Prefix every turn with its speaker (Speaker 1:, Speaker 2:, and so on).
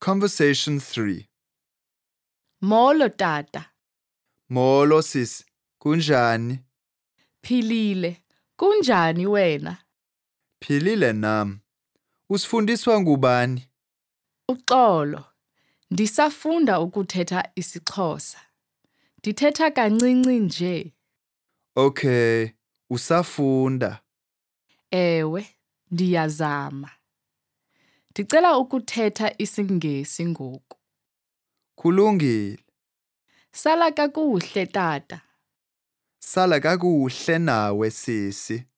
Speaker 1: Conversation 3.
Speaker 2: Molo tata.
Speaker 1: Molo sis. Kunjani?
Speaker 2: Philile. Kunjani wena?
Speaker 1: Philile nami. Usifundiswa ngubani?
Speaker 2: Uxolo. Ndisafunda ukuthetha isiXhosa. Ndithetha kancinci nje.
Speaker 1: Okay, usafunda.
Speaker 2: Ewe, ndiyazama. Ndicela ukuthetha isiNgesi ngoku.
Speaker 1: Kulungile.
Speaker 2: Sala kakuhle tata.
Speaker 1: Sala kakuhle nawe sisi.